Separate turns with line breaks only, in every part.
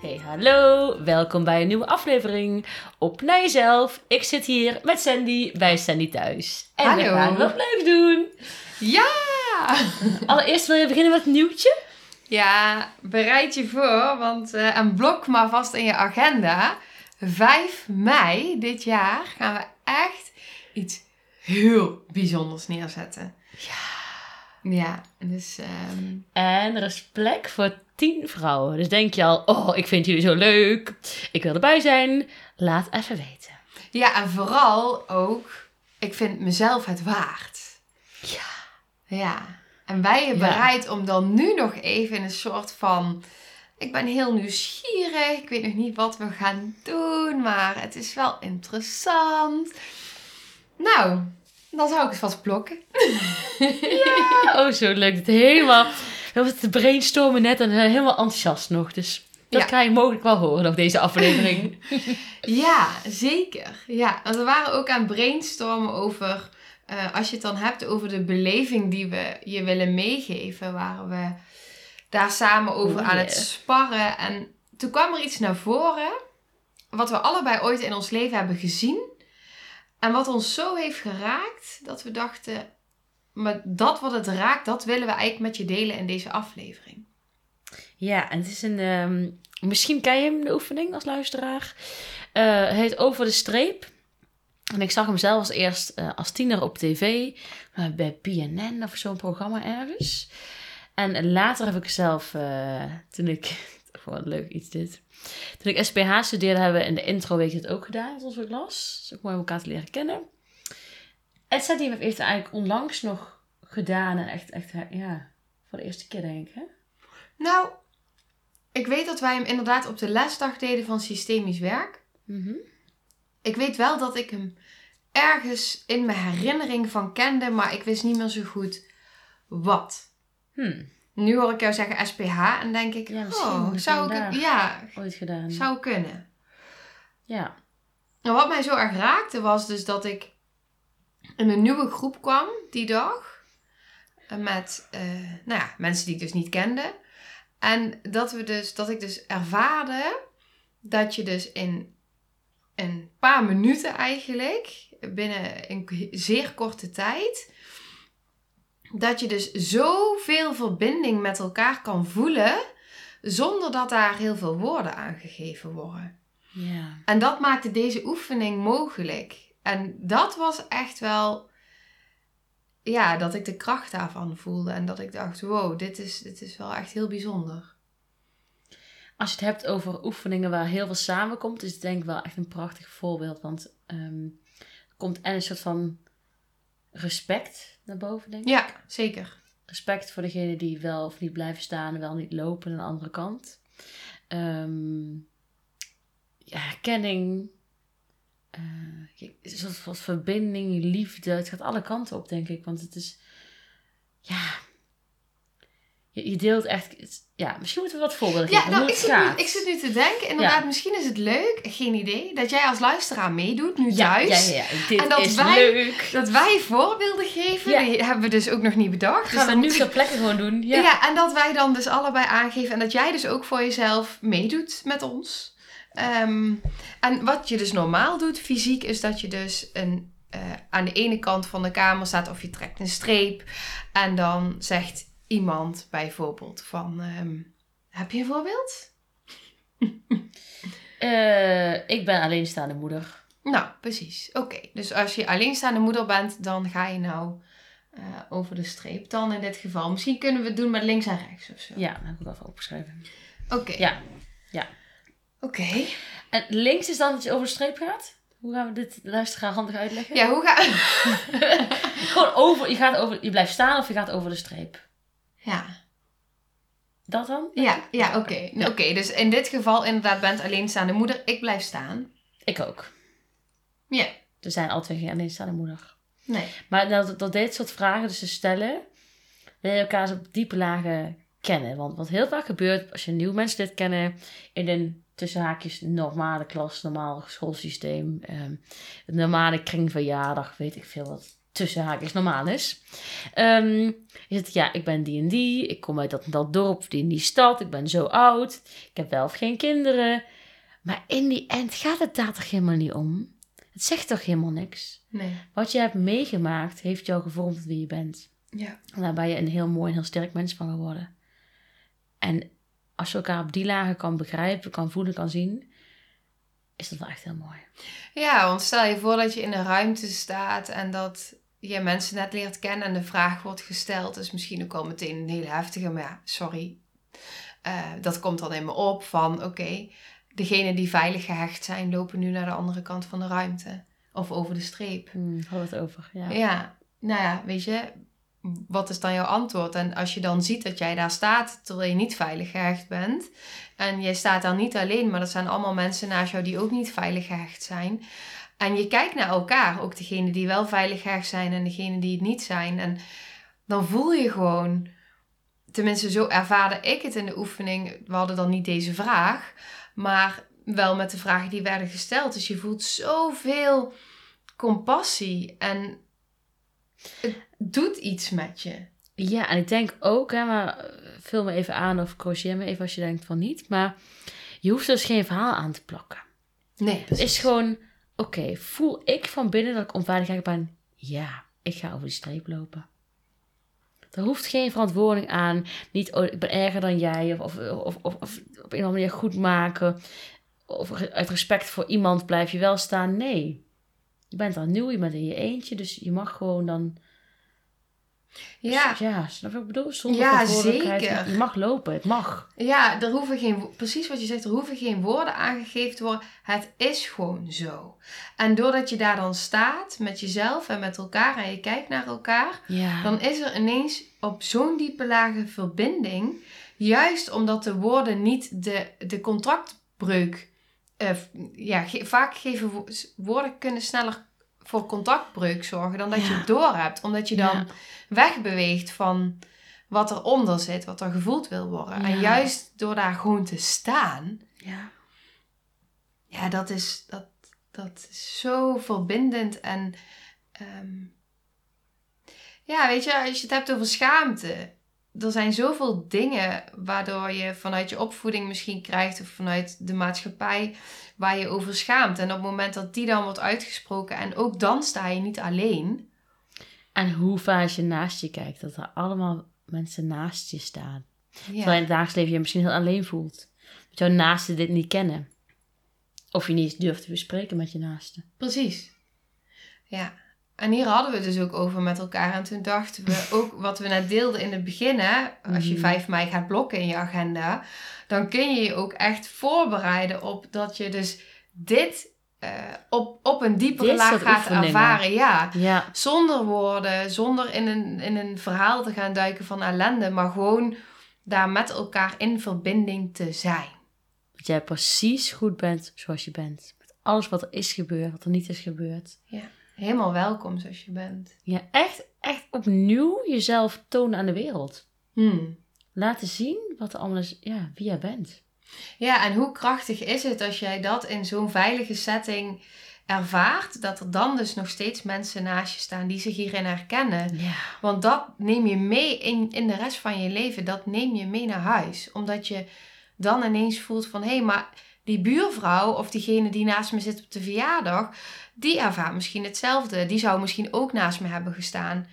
Hey hallo, welkom bij een nieuwe aflevering Op Naar Jezelf. Ik zit hier met Sandy bij Sandy thuis. En we
Hallo.
gaan wat leuks doen.
Ja!
Allereerst wil je beginnen met een nieuwtje?
Ja, bereid je voor, want eh, en blok maar vast in je agenda. 5 mei dit jaar gaan we echt iets heel bijzonders neerzetten. Ja. Ja, dus ehm,
En er is plek voor 10 vrouwen. Dus denk je al, oh, ik vind jullie zo leuk. Ik wil erbij zijn. Laat even weten.
ja, en vooral ook, ik vind mezelf het waard.
Ja.
Ja. En ben je
Ja.
bereid om dan nu nog even in een soort van, ik ben heel nieuwsgierig, ik weet nog niet wat we gaan doen, maar het is wel interessant. Nou, dan zou ik het vast blokken.
Oh, zo leuk. Het helemaal. We hebben te brainstormen net en we zijn helemaal enthousiast nog. Dus dat
Ja.
ga je mogelijk wel horen nog deze aflevering.
Ja, zeker. Ja, want we waren ook aan het brainstormen over, eh, als je het dan hebt over de beleving die we je willen meegeven, waren we daar samen over
Oh,
aan
yeah.
het sparren. En toen kwam er iets naar voren, wat we allebei ooit in ons leven hebben gezien. En wat ons zo heeft geraakt, dat we dachten, maar dat wat het raakt, dat willen we eigenlijk met je delen in deze aflevering.
ja, en het is een. ehm, misschien ken je hem, de oefening als luisteraar. Eh, Hij heet Over de Streep. En ik zag hem zelfs eerst eh, als tiener op tv, maar bij BNN of zo'n programma ergens. En later heb ik zelf, eh, toen ik. oh, Wat leuk iets dit. Toen ik SPH studeerde, hebben we in de introweek dit ook gedaan, zoals ik las. Dus ook mooi om elkaar te leren kennen. En Sadie heeft het eigenlijk onlangs nog gedaan. En echt, echt, ja, voor de eerste keer denk ik, hè?
Nou, ik weet dat wij hem inderdaad op de lesdag deden van systemisch werk.
Mhm.
Ik weet wel dat ik hem ergens in mijn herinnering van kende, maar ik wist niet meer zo goed wat.
Hmm.
Nu hoor ik jou zeggen SPH en denk ik,
Ja, misschien moet
oh,
ik
zou,
hem
ik,
daar-
ja,
Ooit gedaan.
zou kunnen.
Ja.
En Nou, wat mij zo erg raakte was dus dat ik in een nieuwe groep kwam die dag. Met eh, nou ja, mensen die ik dus niet kende. En dat, we dus, dat ik dus ervaarde dat je dus in een paar minuten eigenlijk, binnen een k- zeer korte tijd, dat je dus zoveel verbinding met elkaar kan voelen zonder dat daar heel veel woorden aan gegeven worden.
Ja.
En dat maakte deze oefening mogelijk. En dat was echt wel, ja, dat ik de kracht daarvan voelde. En dat ik dacht, wow, dit is, dit is wel echt heel bijzonder.
Als je het hebt over oefeningen waar heel veel samenkomt, is het denk ik wel echt een prachtig voorbeeld. Want ehm, er komt en een soort van respect naar boven, denk ik.
Ja, zeker.
Respect voor degene die wel of niet blijven staan, wel niet lopen aan de andere kant. Ehm, ja, herkenning. eh, je- een soort van verbinding, liefde. Het gaat alle kanten op, denk ik. Want het is. Ja. Je, je deelt echt. het- Ja, misschien moeten we wat voorbeelden
Ja,
geven
nou,
hoe
ik
het
zit,
gaat.
nu, ik zit nu te denken, inderdaad, misschien is het leuk, geen idee, dat jij als luisteraar meedoet nu
ja,
thuis.
Ja, ja, ja. Dit
En dat
is
wij-
leuk.
Dat wij voorbeelden geven,
Ja.
die hebben we dus ook nog niet bedacht.
gaan we
dan-
nu ter plekke gewoon doen. Ja.
Ja. en dat wij dan dus allebei aangeven en dat jij dus ook voor jezelf meedoet met ons. Ehm, en wat je dus normaal doet fysiek is dat je dus een, eh, aan de ene kant van de kamer staat of je trekt een streep. En dan zegt iemand bijvoorbeeld van, ehm, heb je een voorbeeld?
Eh, ik ben alleenstaande moeder.
Nou, precies. Oké, dus als je alleenstaande moeder bent, dan ga je nou eh, over de streep. Dan in dit geval. Misschien kunnen we het doen met links en rechts of zo.
Ja, dat heb ik even opgeschreven.
Oké.
Ja.
Oké.
En links is dan dat je over de streep gaat. Hoe gaan we dit luisteraar handig uitleggen?
Ja, hoe ga...
Gewoon over, je, gaat over, je blijft staan of je gaat over de streep.
ja.
Dat dan?
Ja, ja oké. Oké, dus in dit geval inderdaad bent alleenstaande moeder. Ik blijf staan.
Ik ook.
Ja.
Er zijn altijd geen alleenstaande moeder.
Nee.
Maar dat, dat dit soort vragen dus te stellen, wil je elkaar dus op diepe lagen kennen. Want wat heel vaak gebeurt, als je nieuwe mensen dit kennen, in een tussen haakjes normale klas, normaal schoolsysteem, ehm, een normale kringverjaardag, weet ik veel wat tussen haakjes normaal is. Ehm, is het, ja, ik ben die en die, ik kom uit dat en dat dorp, die en die stad, ik ben zo oud, ik heb wel of geen kinderen. Maar in die end gaat het daar toch helemaal niet om? Het zegt toch helemaal niks?
Nee.
Wat je hebt meegemaakt heeft jou gevormd tot wie je bent.
Ja.
En daar ben je een heel mooi en heel sterk mens van geworden. En als je elkaar op die lagen kan begrijpen, kan voelen, kan zien, is dat wel echt heel mooi.
Ja, want stel je voor dat je in een ruimte staat en dat je mensen net leert kennen en de vraag wordt gesteld. Dus misschien ook al meteen een hele heftige, maar ja, sorry. Eh, dat komt dan in me op van, oké, degenen die veilig gehecht zijn, lopen nu naar de andere kant van de ruimte. Of over de streep.
Hmm, hadden we het over. Ja.
Ja, nou ja, weet je, wat is dan jouw antwoord? En als je dan ziet dat jij daar staat terwijl je niet veilig gehecht bent, en jij staat daar niet alleen, maar dat zijn allemaal mensen naast jou die ook niet veilig gehecht zijn. En je kijkt naar elkaar, ook degenen die wel veilig gehecht zijn en degenen die het niet zijn. En dan voel je gewoon, tenminste zo ervaarde ik het in de oefening, we hadden dan niet deze vraag, maar wel met de vragen die werden gesteld. Dus je voelt zoveel compassie en het doet iets met je.
Ja, en ik denk ook, hè, maar eh, vul me even aan of corrigeer me even als je denkt van niet. Maar je hoeft dus geen verhaal aan te plakken.
Nee,
Het is gewoon, oké, voel ik van binnen dat ik onveilig ben? Ja, ik ga over die streep lopen. Er hoeft geen verantwoording aan. Niet, oh, ik ben erger dan jij. Of, of, of, of, of op een of andere manier goed maken. Of re- uit respect voor iemand blijf je wel staan. Nee. Je bent al nieuw, je bent in je eentje. Dus je mag gewoon dan...
Ja,
Ja, snap je wat ik bedoel? Zonder
Ja,
verantwoordelijkheid.
zeker.
Je mag lopen, het mag.
ja er hoeven geen, wo- precies wat je zegt, er hoeven geen woorden aangegeven te worden. Het is gewoon zo. En doordat je daar dan staat met jezelf en met elkaar en je kijkt naar elkaar,
Ja.
dan is er ineens op zo'n diepe lage verbinding, juist omdat de woorden niet de, de contractbreuk, eh, f- ja, ge- vaak geven wo- woorden kunnen sneller voor contractbreuk zorgen dan dat je
Ja.
het doorhebt, omdat je dan
Ja.
wegbeweegt van wat eronder zit, wat er gevoeld wil worden. En
Ja.
juist door daar gewoon te staan,
ja.
ja, dat is, dat, dat is zo verbindend en. ehm, ja, weet je, als je het hebt over schaamte. Er zijn zoveel dingen waardoor je vanuit je opvoeding misschien krijgt of vanuit de maatschappij waar je over schaamt. En op het moment dat die dan wordt uitgesproken en ook dan sta je niet alleen.
En hoe vaak je naast je kijkt. Dat er allemaal mensen naast je staan.
Ja.
Terwijl in het dagelijks leven je je misschien heel alleen voelt. Dat jouw naasten dit niet kennen. Of je niet eens durft te bespreken met je naasten.
Precies. Ja. En hier hadden we het dus ook over met elkaar. En toen dachten we ook wat we net deelden in het begin. Hè, als je
Mhm.
5 mei gaat blokken in je agenda. Dan kun je je ook echt voorbereiden op dat je dus dit eh, op, op een diepere
Dit
laag
soort
gaat
oefeningen.
ervaren. Ja.
Ja,
Zonder woorden. Zonder in een, in een verhaal te gaan duiken van ellende. Maar gewoon daar met elkaar in verbinding te zijn.
dat jij precies goed bent zoals je bent. Met alles wat er is gebeurd, wat er niet is gebeurd.
Helemaal welkom zoals je bent.
Ja, echt, echt opnieuw jezelf tonen aan de wereld.
Hmm.
Laten zien wat er allemaal is, ja, wie jij bent.
Ja, en hoe krachtig is het als jij dat in zo'n veilige setting ervaart, dat er dan dus nog steeds mensen naast je staan die zich hierin herkennen.
Ja.
Want dat neem je mee in, in de rest van je leven, dat neem je mee naar huis. Omdat je dan ineens voelt van, hé, hey, maar die buurvrouw of diegene die naast me zit op de verjaardag, die ervaart misschien hetzelfde. Die zou misschien ook naast me hebben gestaan,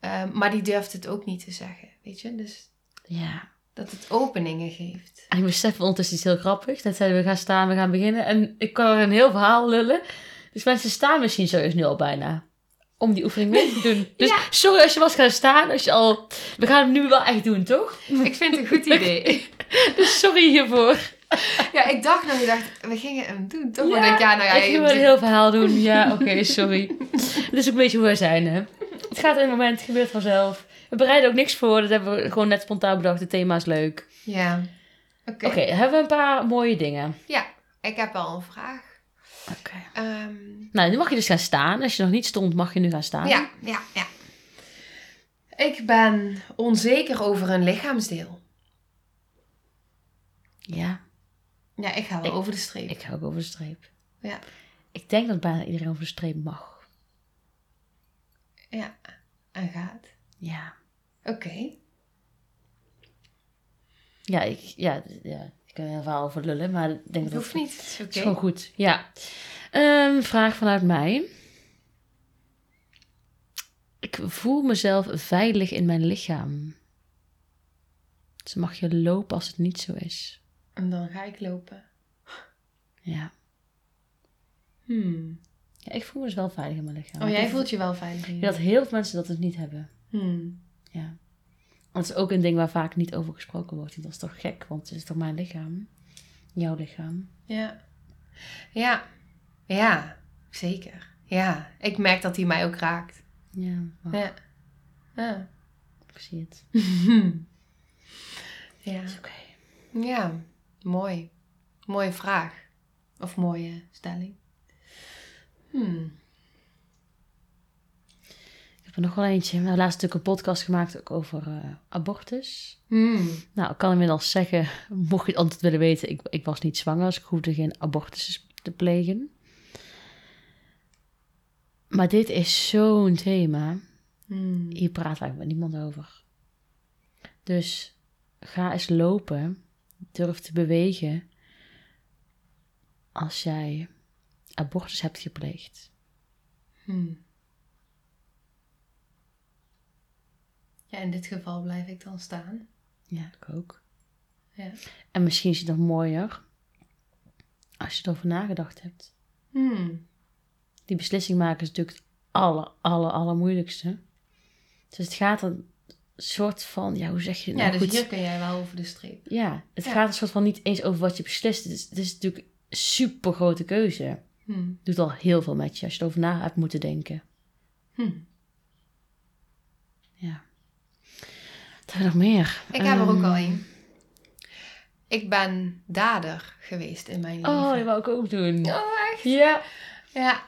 eh, maar die durft het ook niet te zeggen, weet je. Dus
Ja.
dat het openingen geeft.
En ik besef ondertussen iets heel grappigs. Dat zeiden we gaan staan, we gaan beginnen. En ik kan er een heel verhaal lullen. Dus mensen staan misschien sowieso nu al bijna. Om die oefening mee te doen. Dus
Ja.
sorry als je was gaan staan. Als je al... We gaan hem nu wel echt doen, toch?
Ik vind het een goed idee.
Dus sorry hiervoor.
Ja, ik dacht nog, ik dacht, we gingen hem doen, toch? Maar
Ja,
ik denk, ja, nou ja,
ik
je
ging wel een
doet-
heel verhaal doen. Ja, oké, sorry. Dat is ook een beetje hoe wij zijn, hè. Het gaat in het moment, het gebeurt vanzelf. We bereiden ook niks voor. Dat hebben we gewoon net spontaan bedacht. Het thema is leuk.
Ja. Oké.
Oké, hebben we een paar mooie dingen.
Ik heb wel een vraag.
Oké.
Ehm,
Nou, nu mag je dus gaan staan. Als je nog niet stond, mag je nu gaan staan.
ja, ja, ja. Ik ben onzeker over een lichaamsdeel.
Ja,
Ja, ik ga wel
Ik-
over de streep.
ik ga ook over de streep.
Ja.
Ik denk dat bijna iedereen over de streep mag.
En gaat.
Ja.
Oké.
Ja, ik, ja, ja, ik kan er heel veel over lullen, maar ik denk
Dat
dat
hoeft niet. Het is
Het
Oké.
is gewoon goed, ja. Ehm, vraag vanuit mij. Ik voel mezelf veilig in mijn lichaam. Dus mag je lopen als het niet zo is.
En dan ga ik lopen.
Ja.
Hmm.
ja ik voel me dus wel veilig in mijn lichaam.
Oh, jij
Ik
voelt je wel veilig.
denk
in.
dat heel veel mensen dat dus niet hebben.
Hmm.
Dat is ook een ding waar vaak niet over gesproken wordt. En dat is toch gek, want het is toch mijn lichaam? Jouw lichaam?
Ja. Ja. Ja. Zeker. Ja. Ik merk dat hij mij ook raakt.
Ja, wauw,
Ja. Ah, Ja.
ik zie het.
ja.
Is oké.
Ja, mooi. Mooie vraag. Of mooie stelling. Hmm.
Ik heb er nog wel eentje. We hebben laatst natuurlijk een podcast gemaakt ook over eh, abortus.
Hmm.
Nou, ik kan inmiddels zeggen, mocht je het antwoord willen weten, ik, ik was niet zwanger, dus ik hoefde geen abortus te plegen. Maar dit is zo'n thema,
Hmm.
hier praat eigenlijk met niemand over. Dus ga eens lopen, durf te bewegen als jij abortus hebt gepleegd.
Hmm. Ja, in dit geval blijf ik dan staan.
Ja, ik ook.
Ja.
En misschien is het nog mooier als je erover nagedacht hebt.
Hmm.
die beslissing maken is natuurlijk het aller, aller, allermoeilijkste. Dus het gaat een soort van, ja, hoe zeg je het
Ja,
nou
dus
goed?
hier kun jij wel over de streep.
Ja, het
Ja.
gaat een soort van niet eens over wat je beslist. Het is, het is natuurlijk een super grote keuze. Het
Hmm.
doet al heel veel met je als je erover na hebt moeten denken.
Hmm.
Ja. Wat hebben we nog meer?
Ik heb er ook
Ehm,
al één. Ik ben dader geweest in mijn leven.
Oh, die wou ik ook doen. Ja.
Oh, echt?
ja.
Ja.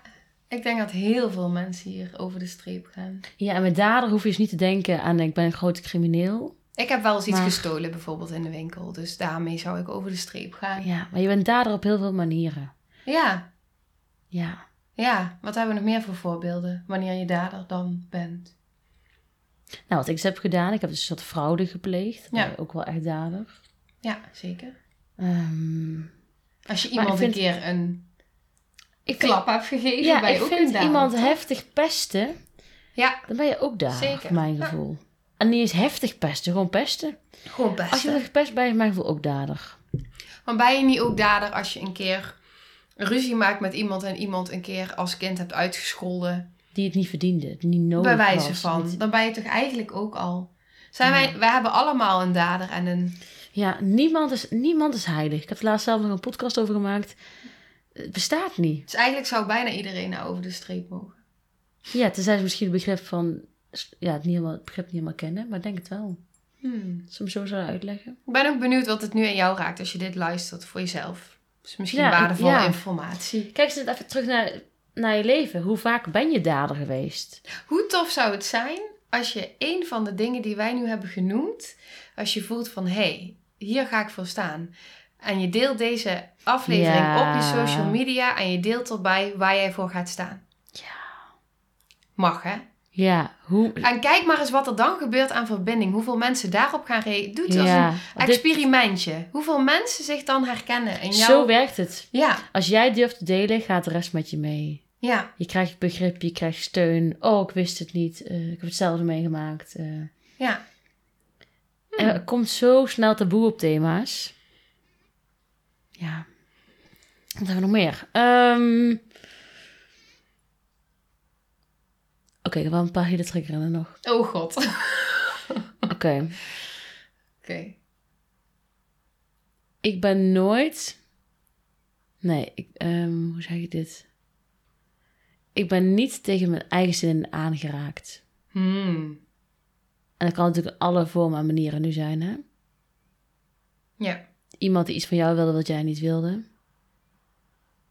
Ik denk dat heel veel mensen hier over de streep gaan.
en met dader hoef je dus niet te denken aan ik ben een grote crimineel.
Ik heb wel eens iets
Maar-
gestolen bijvoorbeeld in de winkel. Dus daarmee zou ik over de streep gaan.
Ja, maar je bent dader op heel veel manieren.
Ja,
Ja.
ja. Wat hebben we nog meer voor voorbeelden? Wanneer je dader dan bent.
Nou, wat ik dus heb gedaan, ik heb dus een soort fraude gepleegd.
Ja.
Ja. Ook wel echt dader.
Ja, zeker.
Ehm,
Als je
Maar
iemand
ik vind-
een keer een
ik vind,
klap hebt gegeven,
ja,
ben je
ik
ook
vind
een dader.
iemand heftig pesten,
Ja,
dan ben je ook dader,
Zeker.
voor mijn
Ja.
gevoel. En niet eens heftig pesten, gewoon pesten.
gewoon
Als
best.
je wordt gepest bent, is mijn gevoel ook dader.
Maar ben je niet ook dader als je een keer ruzie maakt met iemand en iemand een keer als kind hebt uitgescholden?
Die het niet verdiende, die niet nodig
bij wijze
was,
van.
Oh, niet-
Dan ben je toch eigenlijk ook al... Zijn
Ja.
wij, wij hebben allemaal een dader en een...
Ja, niemand is, niemand is heilig. Ik heb er laatst zelf nog een podcast over gemaakt. Het bestaat niet.
Dus eigenlijk zou bijna iedereen nou over de streep mogen.
Ja, tenzij ze misschien het begrip van... Ja, het, niet helemaal, het begrip niet helemaal kennen, maar ik denk het wel.
Hmm.
Soms zo zou uitleggen.
Ik ben ook benieuwd wat het nu aan jou raakt als je dit luistert voor jezelf. Dus misschien
Ja, ik-
waardevolle
ja.
informatie.
Kijk eens even terug naar, naar je leven. Hoe vaak ben je dader geweest?
Hoe tof zou het zijn als je een van de dingen die wij nu hebben genoemd, als je voelt van hé, hey, hier ga ik voor staan. En je deelt deze aflevering
Ja.
op je social media en je deelt erbij waar jij voor gaat staan.
Ja.
Mag hè?
Ja, hoe...
En kijk maar eens wat er dan gebeurt aan verbinding. Hoeveel mensen daarop gaan reageren. Doe het als
Ja,
een
dit-
experimentje. Hoeveel mensen zich dan herkennen in jou.
zo werkt het.
Ja,
Als jij durft te delen, gaat de rest met je mee.
ja,
Je krijgt begrip, je krijgt steun. Oh, ik wist het niet. Eh, ik heb hetzelfde meegemaakt. Eh,
ja.
Er komt zo snel taboe op thema's. Ja. Wat hebben we nog meer? Ehm, Oké, ik heb wel een paar hele triggerende nog.
Oh god. Oké.
Oké. Ik ben nooit. Nee, ik, ehm, hoe zeg ik dit? Ik ben niet tegen mijn eigen zin aangeraakt.
Hmm.
En dat kan natuurlijk in alle vormen en manieren nu zijn, hè?
Ja.
Iemand die iets van jou wilde wat jij niet wilde.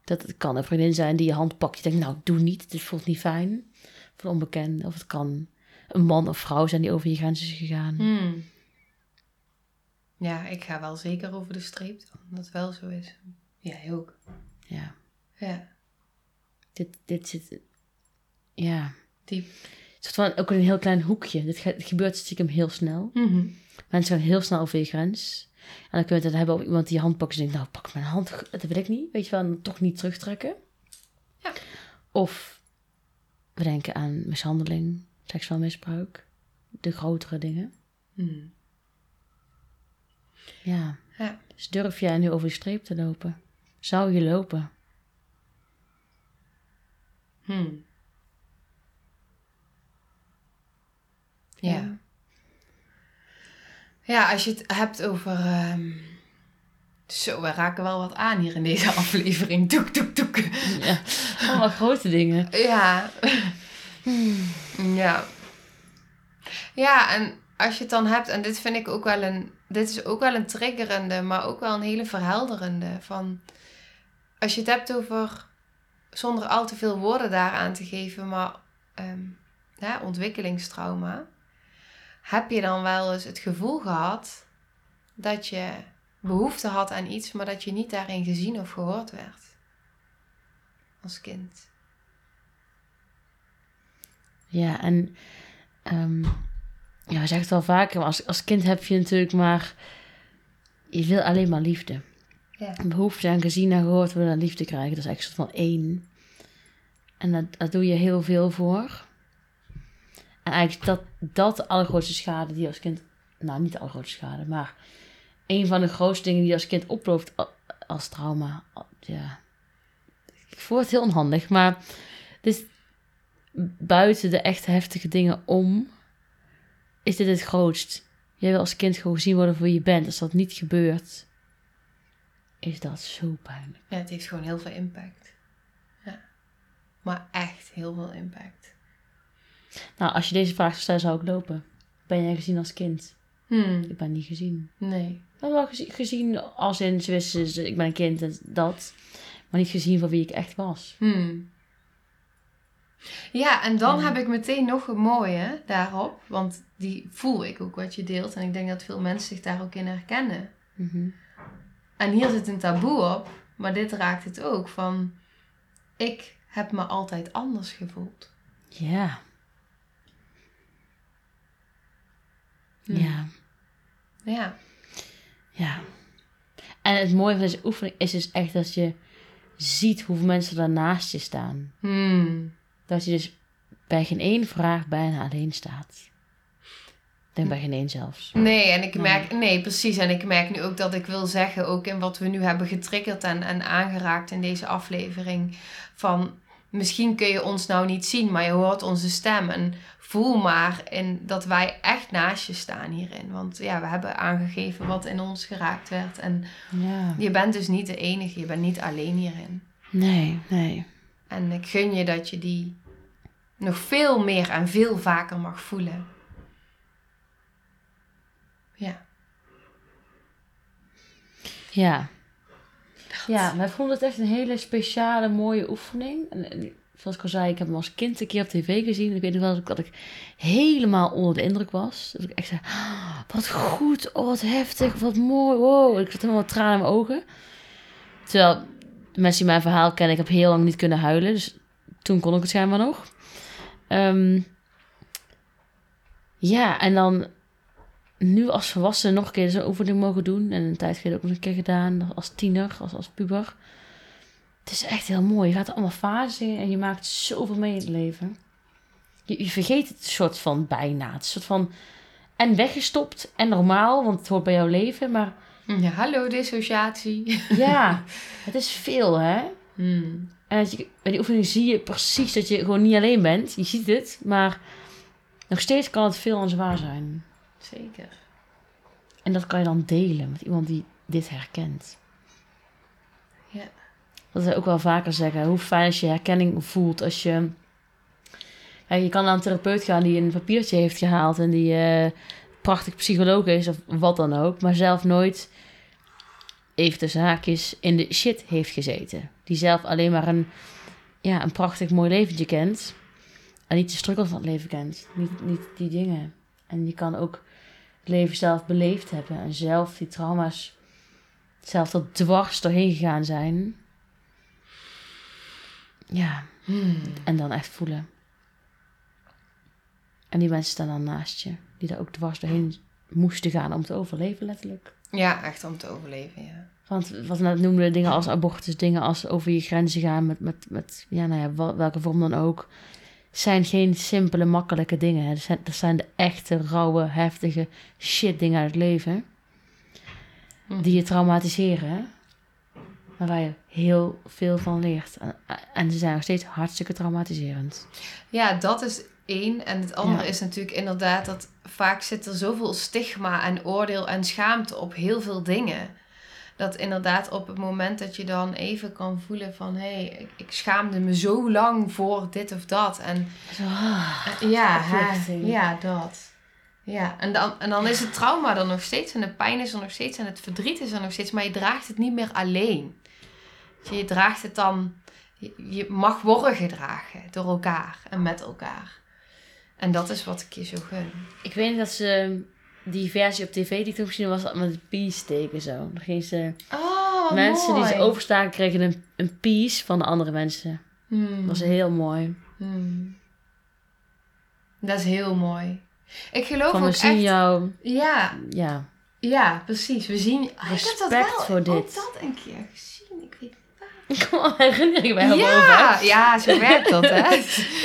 Dat het kan een vriendin zijn die je hand pakt. Je denkt, nou, doe niet. Dit voelt niet fijn. Van onbekend. Of het kan een man of vrouw zijn die over je grens is gegaan.
Hmm. Ja, ik ga wel zeker over de streep dan, dat het wel zo is. Jij ook.
Ja.
Ja,
Dit, dit zit... Ja.
diep.
Een soort van ook in een heel klein hoekje. Dit ge- het gebeurt stiekem heel snel.
Mhm.
Mensen gaan heel snel over je grens. En dan kun je het dan hebben over iemand die je hand pakt. En denkt, nou pak mijn hand, dat wil ik niet. Weet je wel, en dan toch niet terugtrekken.
Ja.
Of we denken aan mishandeling, seksueel misbruik. De grotere dingen.
Hmm.
Ja.
Ja.
Dus durf jij nu over de streep te lopen? Zou je lopen?
Hmm. Ja. Ja, als je het hebt over. ehm, Zo, we raken wel wat aan hier in deze aflevering. Toek, toek, toek.
ja. Allemaal grote dingen.
Ja. Ja. Ja, en als je het dan hebt, en dit vind ik ook wel een. Dit is ook wel een triggerende, maar ook wel een hele verhelderende. Van als je het hebt over. zonder al te veel woorden daaraan te geven, maar ehm, ja, ontwikkelingstrauma. Heb je dan wel eens het gevoel gehad dat je behoefte had aan iets, maar dat je niet daarin gezien of gehoord werd? Als kind.
Ja, en ehm ja, we zeggen het wel vaker, maar als, als kind heb je natuurlijk maar. Je wil alleen maar liefde.
Ja.
Een behoefte aan gezien en gehoord worden en liefde krijgen, dat is eigenlijk een soort van één. En daar daar doe je heel veel voor. En eigenlijk is dat, dat de allergrootste schade die je als kind. Nou, niet de allergrootste schade, maar een van de grootste dingen die je als kind oploopt a- als trauma. A- Ja. Ik voel het heel onhandig, maar dit, buiten de echt heftige dingen om, is dit het grootst. Jij wil als kind gewoon gezien worden voor wie je bent. Als dat niet gebeurt, is dat zo pijnlijk.
Ja, het heeft gewoon heel veel impact. Ja. Maar echt heel veel impact.
Nou, als je deze vraag zou stellen, zou ik lopen. Ben jij gezien als kind?
Hmm.
Ik ben niet gezien.
Nee.
Ik ben wel gezien, gezien als in, ze wisten, ze- ik ben een kind en dat. Maar niet gezien voor wie ik echt was.
Hmm. Ja, en dan heb ik meteen nog een mooie daarop. Want die voel ik ook wat je deelt. En ik denk dat veel mensen zich daar ook in herkennen.
Mhm.
En hier zit een taboe op. Maar dit raakt het ook. Van, ik heb me altijd anders gevoeld.
Ja.
Hmm.
Ja.
Ja.
Ja. En het mooie van deze oefening is dus echt dat je ziet hoeveel mensen daarnaast je staan.
Hmm.
Dat je dus bij geen één vraag bijna alleen staat. Ik denk bij geen één zelfs.
Nee, en ik
Nee.
merk, nee, precies. En ik merk nu ook dat ik wil zeggen, ook in wat we nu hebben getriggerd en, en aangeraakt in deze aflevering, van misschien kun je ons nou niet zien, maar je hoort onze stem. En voel maar in, dat wij echt naast je staan hierin. Want ja, we hebben aangegeven wat in ons geraakt werd. En
Ja.
je bent dus niet de enige, je bent niet alleen hierin.
Nee, nee.
En ik gun je dat je die nog veel meer en veel vaker mag voelen. Ja.
Ja. Ja, wij vonden het echt een hele speciale, mooie oefening. En, en zoals ik al zei, ik heb hem als kind een keer op tv gezien. En ik weet nog wel dat ik, dat ik helemaal onder de indruk was. Dat ik echt zei, "Ah, wat goed, oh, wat heftig, wat mooi, wow. Ik zat helemaal met tranen in mijn ogen. Terwijl de mensen die mijn verhaal kennen, ik heb heel lang niet kunnen huilen. Dus toen kon ik het schijnbaar nog. Ehm, ja, en dan nu als volwassene nog een keer zo'n oefening mogen doen. En een tijd geleden ook nog een keer gedaan als tiener, als, als puber. Het is echt heel mooi. Je gaat allemaal fases in en je maakt zoveel mee in het leven. Je, je vergeet het soort van bijna. Het is soort van en weggestopt en normaal, want het hoort bij jouw leven. Maar
Ja, hallo dissociatie.
ja, het is veel hè.
Hmm.
En als je, bij die oefening zie je precies dat je gewoon niet alleen bent. Je ziet het, maar nog steeds kan het veel en zwaar zijn.
Zeker.
En dat kan je dan delen met iemand die dit herkent.
Ja.
Dat we ook wel vaker zeggen. Hoe fijn als je herkenning voelt als je... Ja, je kan naar een therapeut gaan die een papiertje heeft gehaald en die eh, prachtig psycholoog is of wat dan ook. Maar zelf nooit even tussen haakjes, in de shit heeft gezeten. Die zelf alleen maar een, ja, een prachtig mooi leventje kent. En niet de struggles van het leven kent. Niet, niet die dingen. En je kan ook het leven zelf beleefd hebben. En zelf die trauma's zelf er dwars doorheen gegaan zijn. Ja,
Hmm.
en dan echt voelen. En die mensen staan dan naast je. Die daar ook dwars doorheen moesten gaan om te overleven, letterlijk.
Ja, echt om te overleven, ja.
Want wat we net noemden, dingen als abortus, dingen als over je grenzen gaan met, met, met ja, nou ja, wel- welke vorm dan ook, zijn geen simpele, makkelijke dingen. Hè. Dat, zijn, dat zijn de echte, rauwe, heftige shit dingen uit het leven.
Hm.
Die je traumatiseren. hè. Maar waar je heel veel van leert. En, en ze zijn nog steeds hartstikke traumatiserend.
Ja, dat is één. En het andere
Ja.
is natuurlijk inderdaad dat vaak zit er zoveel stigma en oordeel en schaamte op heel veel dingen. Dat inderdaad op het moment dat je dan even kan voelen van... hé, hey, ik, ik schaamde me zo lang voor dit of dat. En
Zo, ah.
ja, hè,
Verplichting.
ja, dat. Ja, en dan, en dan is het trauma er nog steeds en de pijn is er nog steeds en het verdriet is er nog steeds, maar je draagt het niet meer alleen. Weet Je je draagt het dan, je, je mag worden gedragen door elkaar en met elkaar. En dat is wat ik je zo gun.
Ik weet niet dat ze die versie op tv die ik toen gezien had, was, dat met het peace-teken zo. Dan ging ze...
Oh,
mensen die ze overstaken kregen een, een piece van de andere mensen.
Hmm,
Dat was heel mooi.
Dat is heel mooi. Ik geloof
Van we
ook
zien
echt...
jou.
Ja,
Ja.
ja, precies. We zien... Ah, ik heb dat
Respect
wel
voor
ook
dit.
dat een keer gezien. Ik weet
Ik kom al herinneringen bij hem
Ja, ja, zo werkt dat, hè?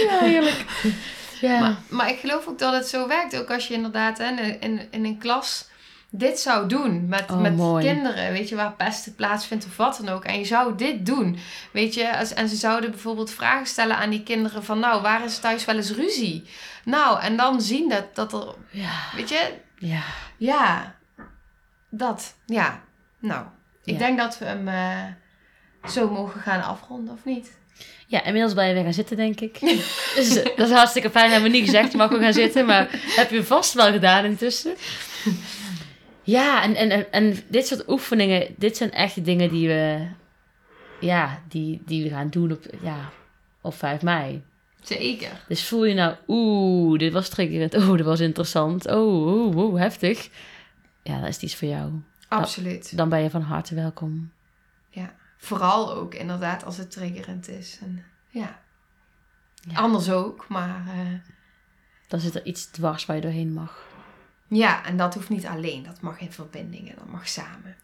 ja, heerlijk. Ja.
maar, maar ik geloof ook dat het zo werkt. Ook als je inderdaad hè, in, in, in een klas dit zou doen met,
Oh,
met
mooi.
kinderen, weet je, waar pesten plaatsvindt of wat dan ook. En je zou dit doen, weet je. Als, en ze zouden bijvoorbeeld vragen stellen aan die kinderen van, nou, waar is thuis wel eens ruzie? Nou, en dan zien dat, dat er,
ja.
weet je,
Ja.
ja, dat, ja. Nou, ik
Ja.
denk dat we hem eh, zo mogen gaan afronden, of niet?
Ja, inmiddels ben je weer gaan zitten, denk ik. dus, eh, dat is hartstikke fijn. Hebben we niet gezegd, je mag ook gaan zitten. Maar heb je vast wel gedaan intussen. Ja, en, en, en, en dit soort oefeningen, dit zijn echt dingen die we, ja, die, die we gaan doen op, ja, op 5 mei.
Zeker.
Dus voel je nou, oeh, dit was triggerend. Oeh, dit was interessant. Oeh, oeh, oeh, heftig. Ja, dat is het iets voor jou.
Absoluut.
Dan ben je van harte welkom.
Vooral ook inderdaad als het triggerend is. En, ja.
Ja.
Anders ook, maar eh,
Dan zit er iets dwars waar je doorheen mag.
ja, en dat hoeft niet alleen. Dat mag in verbinding en dat mag samen.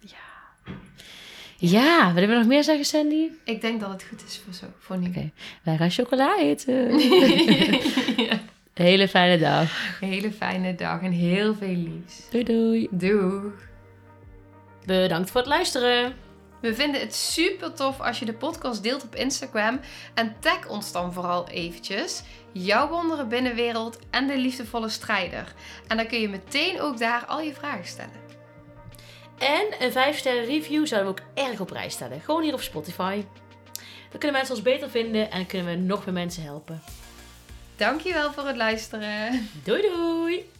Ja, willen we nog meer zeggen, Sandy?
Ik denk dat het goed is voor zo, voor nu.
Oké. Wij gaan chocola eten. Hele fijne dag.
Hele fijne dag en heel veel liefs.
Doei doei.
Doei.
Bedankt voor het luisteren.
We vinden het super tof als je de podcast deelt op Instagram en tag ons dan vooral eventjes. Jouw wondere binnenwereld en de liefdevolle strijder. En dan kun je meteen ook daar al je vragen stellen.
En een 5 sterren review zouden we ook erg op prijs stellen. Gewoon hier op Spotify. Dan kunnen mensen ons beter vinden en kunnen we nog meer mensen helpen.
Dankjewel voor het luisteren.
Doei doei.